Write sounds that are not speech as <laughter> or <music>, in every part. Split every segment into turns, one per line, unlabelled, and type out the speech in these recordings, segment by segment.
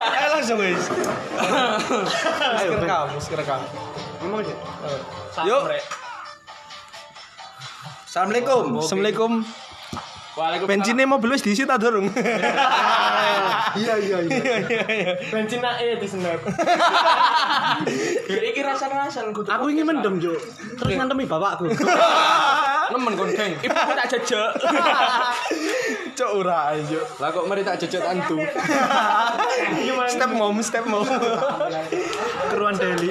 Eh langsung guys.
Ayo,
rekam, rekam.
Emang sih?
Yuk.
Bre.
Assalamualaikum. Assalamualaikum.
Waalaikumsalam.
Bensinnya mau belus diisi tak dorong.
Iya iya iya.
Bensin ae
E,
di
<laughs>
snap. Ya iki rasan-rasan kudu.
Aku ingin mendem Jo. Terus ngantemi bapakku.
<laughs> nemen kon geng. Ibu kok tak <laughs> jejek.
Cok ora ayo.
Lah kok mari tak jejek antu.
<laughs> Step mom, step
<laughs>
mom.
Keruan Deli.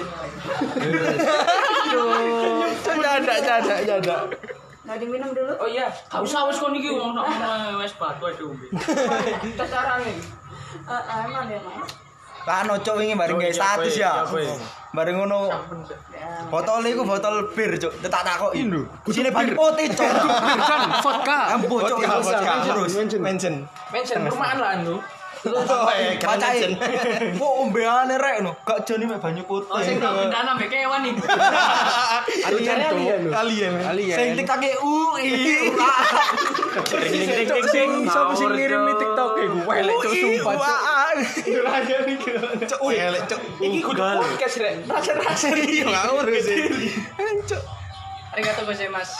Canda, canda, canda.
Nggak diminum dulu?
Oh iya, gak usah wis kon iki ngono wis batu ae diombe. Tasarane.
Eh, eh, emang ya, Mas?
Lah no cok ini bareng guys status ya. Bareng ngono botol iku botol bir cok. Tak takoki. Sini banyu putih cok.
Kan vodka.
Ambo cok
Vodka, vodka.
terus.
Mention.
Mention.
Mention rumahan lah antu.
Eh,
<laughs> Pacain. Kok ombeane rek no. Gak jane mek banyu putih.
Oh sing tak bendana mbek kewan <laughs> iki.
Alien
alien,
tuh.
loh.
Alien.
Alien.
ya, Sing TikTok e UI.
Siapa sih ngirim di TikTok ya gue? Elek cok sumpah ya, cok.
Cuk, elek cuk.
Iki kudu
<laughs>
Ugal.
podcast rek.
Rasa-rasa iki ngawur sih. Cuk.
Arigato gozaimasu.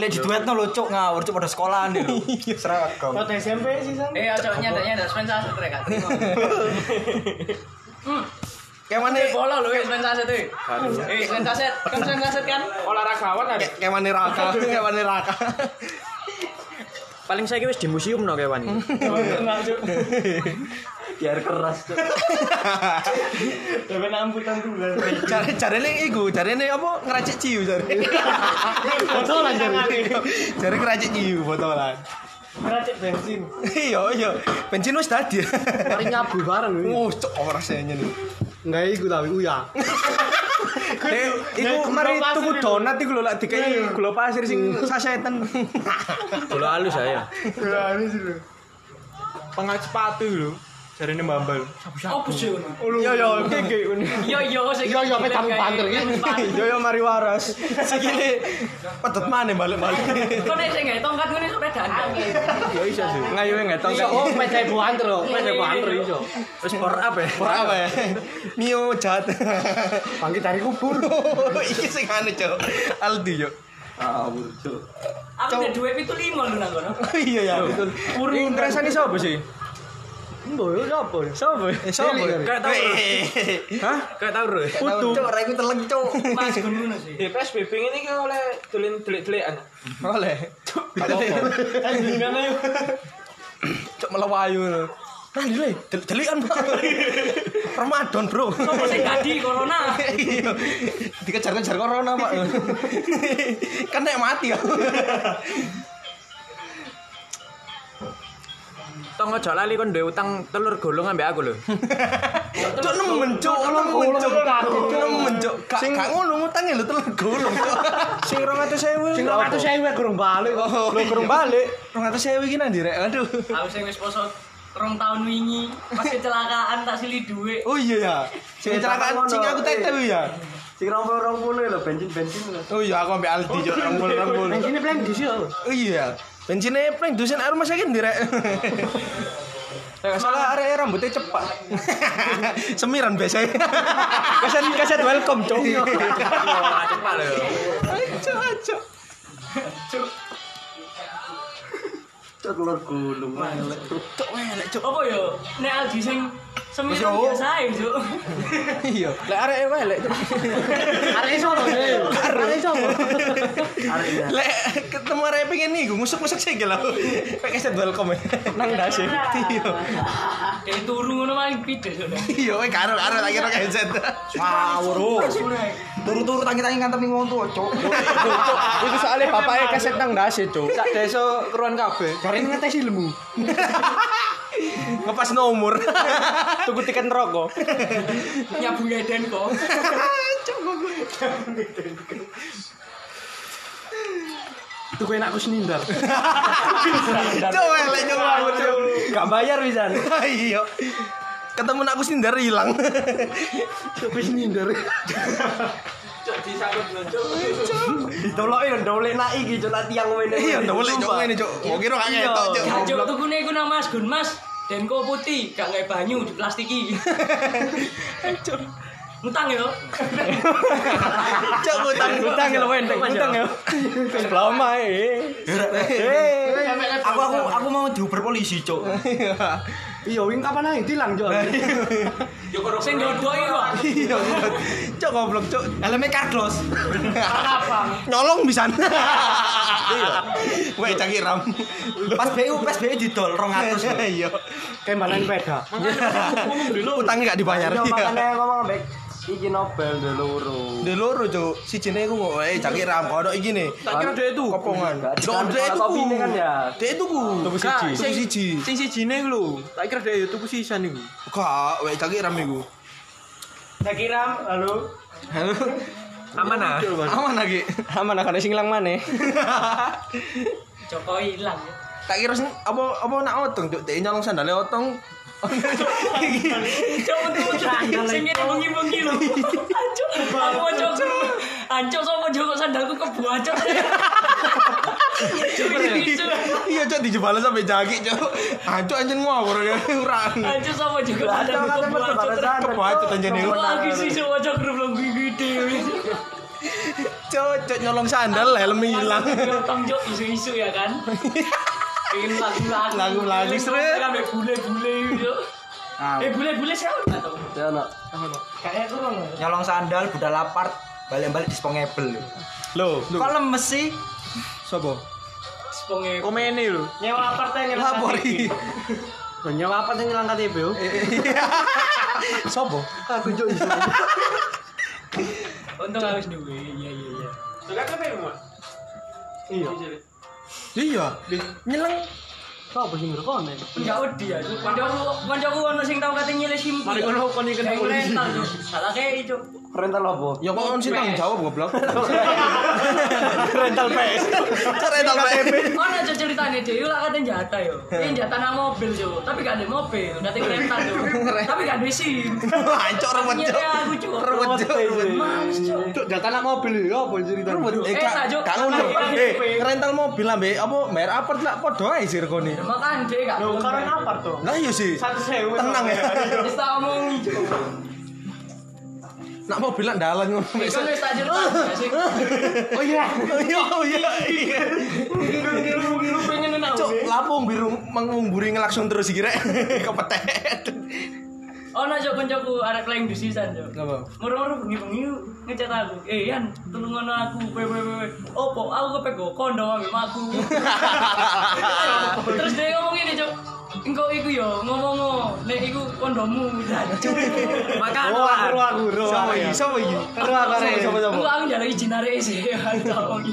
Lek diduetno lho cuk ngawur cuk pada sekolahan lho.
Iya.
Seragam.
Foto SMP sih sam.
Eh ojo nyandak-nyandak spen saset rek. <laughs> gak terima.
Kayak mana?
Hmm. Eh bola lho wis spen saset iki. Eh spen saset. Kan spen saset kan olahragawan ada.
Kayak mana raka? Kayak mana raka?
Paling saya wis di museum no kawan. Biar keras cok. Tapi <laughs> amputan tuh
Cari cari ning iku, cari ning apa ngeracik ciu cari.
Botolan jadi.
Cari ngeracik ciu botolan.
Ngeracik bensin.
Iya iya. Bensin wis tadi.
Mari nyabu bareng.
Oh, cuk rasanya nih.
Enggak iku tapi uya.
Eh,
Nah,
iku
gula
mari
pasir
tuku
itu.
donat iku lho lak dikai gula pasir sing
<laughs>
sasetan.
Bola halus saya.
Pengac sepatu lho. Jarine mbambal.
Opo sih ono?
Yo yo <laughs> kiki.
Yo yo sing
Yo, yo, petamu banter,
iya.
ya.
Yo yo mari waras. Sikile pedot maneh balik-balik.
Kok nek sing gawe tongkat ngene sepedaan.
Yo iso sih. Ngayu enggak tau.
Oh, pecah buan terus, pecah buan
iya,
terus
iya.
iso. Wis for up ya.
Ora apa ya? Mio jahat.
Bangkit dari
<laughs>
kubur.
Iki sing anu, Cok. Aldi, yo.
Aku udah duwe 75 lho nang <laughs> kono.
Iya ya, betul. Urung rasane sapa sih?
Mbok yo sapa? Sapa?
Eh, sapa?
Kayak tau.
Hah?
Kayak tau terus.
Putu. Cok, ora iku teleng, Eh. Cuk.
Mas ngono sih. Di PSBB ngene iki oleh dolin delik-delikan.
Oleh.
Gimana yo?
Cok melewayu. Nah, dile, delikan. Ramadan, Bro.
Sopo sing gadi corona?
Iya. Dikejar-kejar corona, Pak. kan nek mati ya.
Tong ojo lali kon duwe utang telur golong ambek aku lho.
Cok nemen, Cok. Nemen, Cok. Nemen, Cok. Gak gak ngono ngutange lho telur gulung, Cok. Sing 200.000.
Sing 200.000 kurang balik kok.
Oh, lu kurang balik. 200.000 iki nang direk. Aduh.
Aku sing wis poso rong tahun wingi pas kecelakaan tak silih dhuwit.
Oh iya ya. Sing kecelakaan cing aku tetep ya.
Sing 20-20 lho bensin-bensin lho.
Oh iya aku ambek Aldi yo rambul-rambul.
Bensinnya plan di sini.
Oh iya. Bensinnya prank dusen air rumah sakit direk. Salah arek rambutnya cepat. Semiran biasanya. Kaset kaset welcome cong.
Cepat lho.
Aco aco.
Cok telur gulung.
Cok elek cok.
Apa yo? Nek Aldi sing semiran
Masuk.
biasa ae, Cuk.
Iya. Lek arek elek.
Arek iso lho. Arek iso.
Lek ketemu arek e pengen nih ngusuk-ngusuk sik lho. Pek kaset welcome. e. Nang dasi. Iya.
Dek turu ngono maling pides lho.
Iya, weh karo karo tak kira headset. Ngawur. Turu-turu tangi-tangi ngantem ning wong tua, Cuk. Iku soalé bapake keset nang ndase, Cuk. Sak desa keruan kabeh.
Arek ngetes ilmu.
Ngepas nomor.
Tuku tiket rokok.
Nyabu ngeden kok.
Tuku enakku senindar.
Cuk, elek Cuk, ngawur, Cuk.
Gak bayar <laughs> pisan.
Iya. Ketemu aku sindar hilang.
Cok wis nyindar.
Cuk,
Cuk, disambut lho, Cuk.
Ditoloki yo ndolek nak iki cuk nak tiang ngene.
Iya, ndelok cok ngene
<laughs>
cok. Kok kira gak ngetok cok.
Jajuk tukune iku nang Mas Gun Mas. Denko putih, gak kayak banyu di plastiki. Mutang yo.
Cok ngutang
Utang lho wendeng, utang ya. yo. Lama eh.
Aku aku aku mau diuber polisi cok.
<laughs> Iya, wing kapan ae tilang cuk.
Yo karo
Sing dodok iki kok.
Iya, cuk goblok cuk.
Helme Carlos.
apa?
Nyolong bisa.
<laughs> Iya. Weh cangkir ram. Pas BU pas BU didol 200.
Iya. Kayak balen peda.
Utangnya gak dibayar.
Yo
Iya.
makane ngomong baik iki Nobel de loro.
Di loro cok, si jene iku kok eh cangkir ram kono iki ne.
Tak kira dia itu.
Kopongan.
Kan
Cok dia itu.
kopi ini kan ya.
Dia itu ku.
Kak,
Tuku siji.
Sing sijine iku lho. Tak kira dia itu sisan iku.
Kak, weh cangkir ram iku.
Sakiram, halo.
Halo.
Aman ah.
Aman lagi.
Aman akan sing ilang mana?
<laughs>
Jokowi hilang. ya.
Tak kira sing apa apa nak otong cok, dia nyolong sandale otong.
Cuk untu sing ngene bengi-bengi lho. Ancuk, aku mau cok. Ancuk sama joko sandalku kebuacok.
<laughs> Iya cok dijebalas sampai jagi cok. Ancok anjen ngawur ya <laughs> urang.
Ancuk sama joko sandalku kebuacok.
Kebuacok anjen iku.
Lagi sih cok cok grup lagi gede.
Cok cok nyolong sandal helm hilang.
Gampang cok isu-isu ya kan. Pengen lagu-lagu.
Lagu-lagu, seret.
Sampai bule-bule cok. Eh bule-bule siapa nggak tahu?
Ya no.
Kayaknya kurang. ya.
Nyolong sandal budal lapar balik-balik dispongebel.
Lo,
Kok lemes sih?
sobo.
Sponge.
Komene lho.
Nyewa apartemen
Lapori.
Nyewa apa sing ilang KTP? yo?
Sopo?
Aku juk iso.
Untung harus duwe. Iya iya iya.
Sudah kan memang.
Iya.
Iya.
Nyeleng. Sopo sing ngerokone?
Enggak wedi ya. Cuk. Kancaku kancaku ono sing tau kate nyilih simpi.
Mari kono kon iki
Kayak
polisi.
rental cuk. Salah kayak itu.
Rental apa?
Ya kok on sih tanggung jawab <laughs> goblok.
<laughs> Rental PS.
Cara rental PMP.
Ono aja ceritane Dewi lah kate jatah yo. Ini jatah nang mobil cuk. Tapi gak ada mobil, kate rental cuk. Tapi gak ada SIM.
Ancok ruwet
Nyilih
cuk.
aku cuk.
Ruwet cuk. ruwet.
Mas cuk.
Cuk, data anak mobil ya apa cerita?
Ruwet. Eh
Eh, tak, Cuk.
kak ngono.
Lagi-
Eh rental mobil lah mbek apa mer apa lah podo ae sir kone.
Makan deh gak.
Loh, karena apa tuh?
Lah iya sih.
Satu sewa.
Tenang ya.
Wis tak omongi cuk.
Nak mobil lah dalan ngono.
Wis wis tak cerita.
Oh iya. Oh <laughs> iya. iya.
Lu pengen enak.
Cuk, lapung biru mengumburi ngelaksun terus iki rek. <laughs> Kepetet.
Ono cok kancaku arek playing di sisan cok.
Apa?
Moro-moro bengi-bengi ngecat aku. Eh Yan, tulung ngono aku. Weh weh weh, weh. Opo aku kepego kondo ambek
<laughs>
aku. Terus dia ngomong ini cok. Engko iku yo ngomongo, nek iku kondomu
<laughs>
jancuk.
Makan
Oh, aku
lah.
aku ro.
Sopo iki? Sopo iki?
Ro aku arek.
Engko aku njaluk izin arek sih. <laughs> Tak omongi.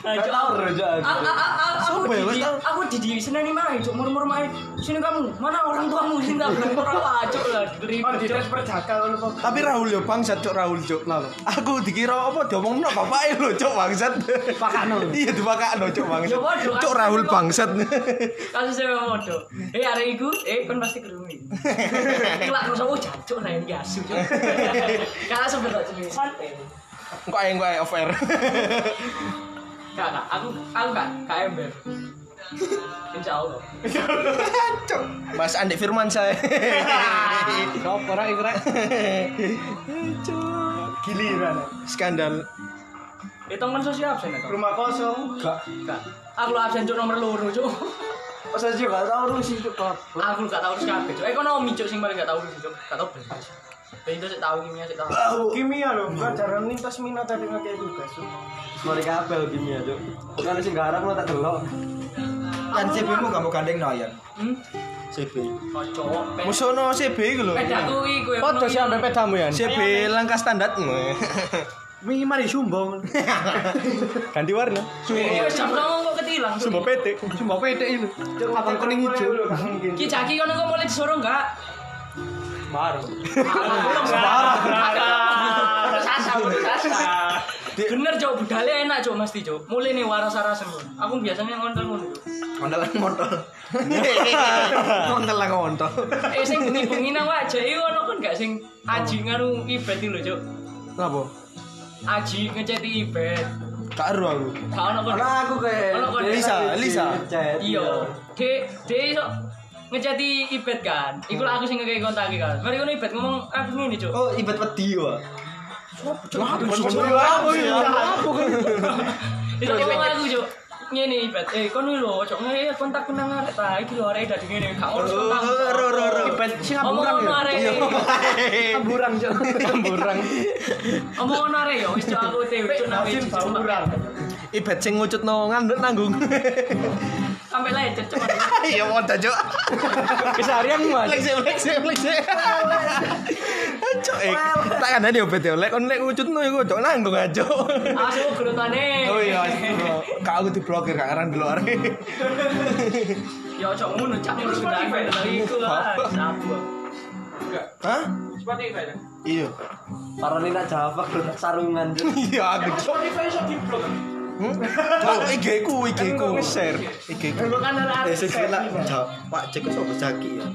Nah, Cok,
Tahu ro Cuk.
A- a- a- a- aku
Sopo ya,
di
wes tau?
aku di di sini nih mai cuk murmur mai sini kamu mana orang tuamu sini tak belum pernah cuk lah dari
Oh,
Kan dites perjaka ngono kok.
Tapi Raul yo bangsat cuk Raul cuk. Aku dikira apa diomongno bapake lho cuk bangsat.
Pakano.
<laughs> Iya dipakakno cuk bangsat.
Ya, waduh,
Cuk
kan.
Raul bangsat. <laughs>
kasus saya modo eh hari itu eh kan pasti kerumi kelak rusak oh jancuk lah yang biasa cuk kakak sebentar sebentar santai
Kok ae kok ae off air.
kakak aku aku kak kak ember insya allah
<laughs> Cuk. Mas Andek Firman saya. <laughs>
Sopo ora iku rek?
Cuk.
Giliran.
Skandal.
eh teman sosial absen atau
Rumah kosong.
Gak.
enggak aku lah absen cuk nomor loro cuk
Pas aja gak tahu ro sih cuk.
aku gak tahu harus kabeh cuk ekonomi cuk sing paling gak tahu cuk gak tahu belas dan itu sih tahu kimia sih tahu
Kimia lho, pelajaran lintas minat tadi ngake tugas. Cuk.
Mari kabel gini ya, Cuk. Kan sing garap lo tak delok.
Yan CB-mu gak mau gandeng no Yan.
hmm Oh,
CB.
kocok pe-
Musono CB iku lho.
pedaku iku ya
Foto sih sampe pedamu ya.
CB langkah standar.
Wingi mari sumbong. Ganti warna.
Wes jam songo kok ketilang.
Sumba PT. Sumba PT itu. Cuk, abang kuning hijau.
Ki jaki kono kok mulai disuruh enggak?
Baru.
Belum enggak. Belum enggak. Sasa, belum sasa. Bener cok, budale enak cok mesti cok. Mulai nih waras arasan Aku biasanya ngontel ngono cok.
Kontol
<laughs>
kontol. Kontol lah kontol.
Eh sing bengi-bengi nang wajah iki ono kan gak sing aji nganu ibet iki lho cok.
Napa?
Aji ngeceti ibet.
Gak eru aku.
Gak ono kon.
Lah aku kayak
Ono kon.
Lisa, Lisa.
Iya. De de iso ngeceti ibet kan. Iku lah aku sing ngekei kontak iki kan. Mari ngono ibet ngomong aku ngene cok.
Oh, ibet wedi wae.
Itu ngomong aku cuk. Ngene ibet. Eh kon iki lho cuk ngene kontak ku nang arek ta. Iki lho arek dadi ngene. Gak ngono kontak.
Ro ro ro.
Ibet sing
Omong
amburan
ngono
ya.
<laughs>
arek.
Amburan cok. Amburan.
Omong ngono arek yo wis cuk aku tewe cuk nang wis cuk.
Ibet sing ngucut no ngandut <laughs> nanggung.
Sampai lecet cuk.
Ya modal, <laughs> Cuk.
Keseharian mas.
Lek sik lek sik lek sik. Cuk, eh, tak kandani ibet ya. Lek kon lek ngucut no iku cuk nanggung aja.
Awas aku gerotane.
<laughs> Oh iya, kak aku diblokir kak karena dulu hari.
Ya cuk ngono cak ngono gendane. Iku lah. Sabu.
Hah?
Spotify kan?
Iya.
Paroni nak jawab aku sarungan cok.
Iya aku cuk. Hmm?
Spotify iso diblok.
Cuk, IG ku, IG ku share. IG ku.
Dulu kan ada
Eh, sing
arek.
kira Pak Cek itu sopo Zaki ya.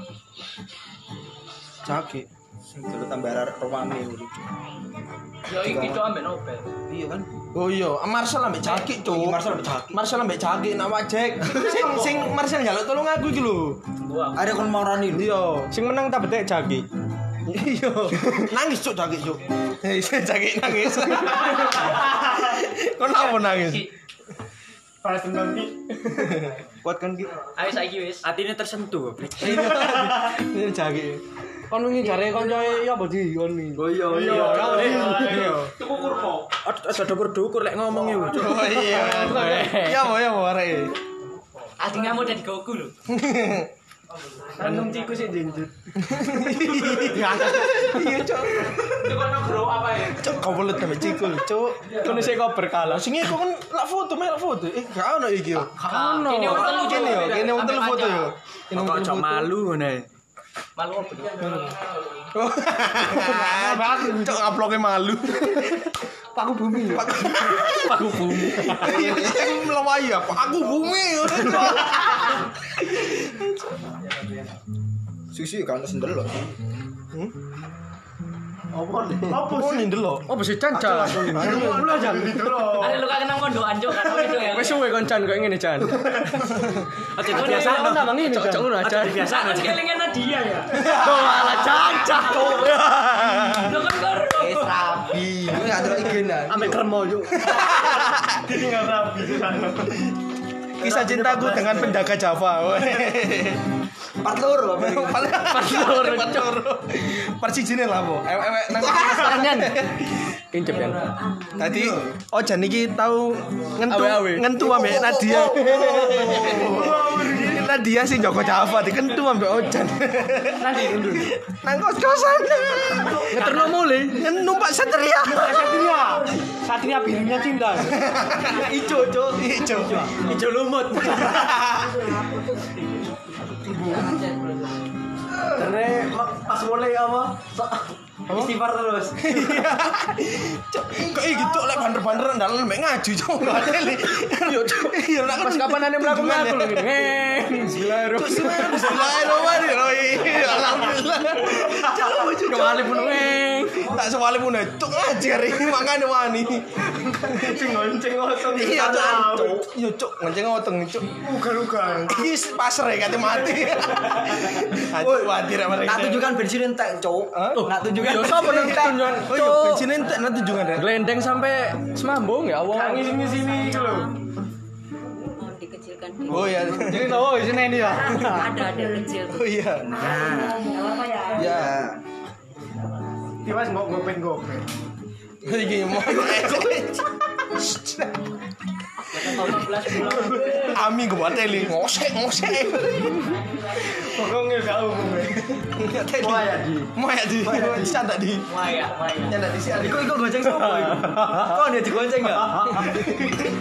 Zaki. Sing dulu tambah arek romane urip.
Yo iki cuk ambek Nobel.
Iya kan? Oh iya, Marcel ambek Caki, Cuk. Marcel ambek Caki. Marcel ambek Caki nak Pak Cek. Sing sing Marcel njaluk tolong aku iki lho.
Gua
Ada kon marani. Iya.
Sing menang tak betek jagi.
<laughs> Iya. Nangis Cuk Caki, Cuk. <laughs> Eh, Caki nangis. Kon apa nangis?
Pas nanti.
Kuat kan ki.
Ayo saiki ah, wis.
Ah,
Hatinya tersentuh. goblok.
Iya.
Ini jagi. Kon wingi jare kancoe ya apa di kon wingi.
Oh iya iya.
Iya.
Tuku kurma.
Ada dukur-dukur lek ngomong yo. Cuk.
Oh iya. Ya mau ya mau arek.
Ati ngamu dari Goku lho.
Kanung ciku sih jenjut.
Iya, Cuk.
Itu kan grow apa ya?
Cuk, kau pelut sampe cikul, Cuk.
Kon sik kok berkala.
Sing iku kan lak foto, mek lak foto. Eh, gak ono iki yo.
Ono. Ah, Kene wong telu
Kene yo, kene wong telu foto yo. Kene
Kok ojo malu ngene.
Malu apa?
Cuk, ngaploke malu.
Paku bumi ya. Paku bumi.
Iya, Aku melawayi apa? Aku bumi. Sisi kan sendel lho.
Apa
Oh, nyendel lho.
apa sih canca? Mula jan.
Arek luka kenang kondokan cuk kan itu ya.
Wis suwe kon jan kok ngene jan.
Aja
Kon
biasa.
biasa nang ngene jan. Cok ngono aja.
Biasa.
Aku kelingan Nadia
<laughs>
ya.
Kok malah canca kok.
Lho kan karo.
Iya, gak ada igenan.
Ambek kremo yo.
Ditinggal rabi.
Kisah cintaku dengan penjaga Java. <laughs> Part loro. <laughs> Part loro. Part loro. Persijine lah, Bu. Ewek-ewek nang <laughs>
Tanyan. Incep ya.
Tadi Ojan iki tau ngentu
Awe-awe.
ngentu ambek <laughs> Nadia. Nadia sih Joko Java dikentu ambek Ojan. <laughs>
Nanti dulu.
Nang kos-kosan.
Ngeterno mule.
Numpak satria.
Satria. Satria birunya cinta.
Ijo, Cuk. Ijo.
Ijo lumut.
Jare pas mulai apa? Istighfar terus.
Cuk, Iya. kok iki Cuk lek bander-bander ndal mek ngaji Cuk. Yo Cuk. Yo nak kan ya.
Pas kapan ane mlaku ngaku lho gini. Eh,
Cuk,
Bismillahirrahmanirrahim.
semuanya Bismillahirrahmanirrahim. Iya, Alhamdulillah. Cuk, Cuk.
Kembali pun eh.
Tak sewale pun cuk ngaji hari ini makane wani.
Cing ngonceng ngosong.
Iya cuk. Cuk, Iya cuk ngenceng ngoteng cuk.
Ugal-ugal.
Iya pasre kate mati. Woi, wati rek mereka.
Tak tunjukkan bensin entek, Cuk.
Hah?
Tak tunjukkan.
Yo sapa nang tunjukkan?
Oh iya, bensin entek nanti juga ada.
Glendeng sampai semambung ya Allah.
Nangis ini sini gitu loh.
Mau dikecilkan.
Oh iya.
Jadi tahu di sini ya.
Ada ada kecil.
Oh iya.
Enggak apa ya.
Ya.
Tiwas mau ngopen ngopen.
Iki mau.
15 bulan.
Ami gue buat teli ngosek ngosek.
Pokoknya gak umum ya.
Enggak teli. Mau ya di. Mau ya di. Canda di.
Maya, maya.
Canda di sini.
Iku iku gonceng sapa iku? Kok dia digonceng enggak?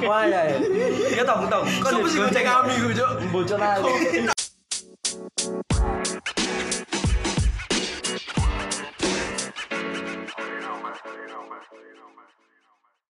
Wah ya.
Ya tong tong. Kok dia digonceng kami, Cuk.
Bocor lagi.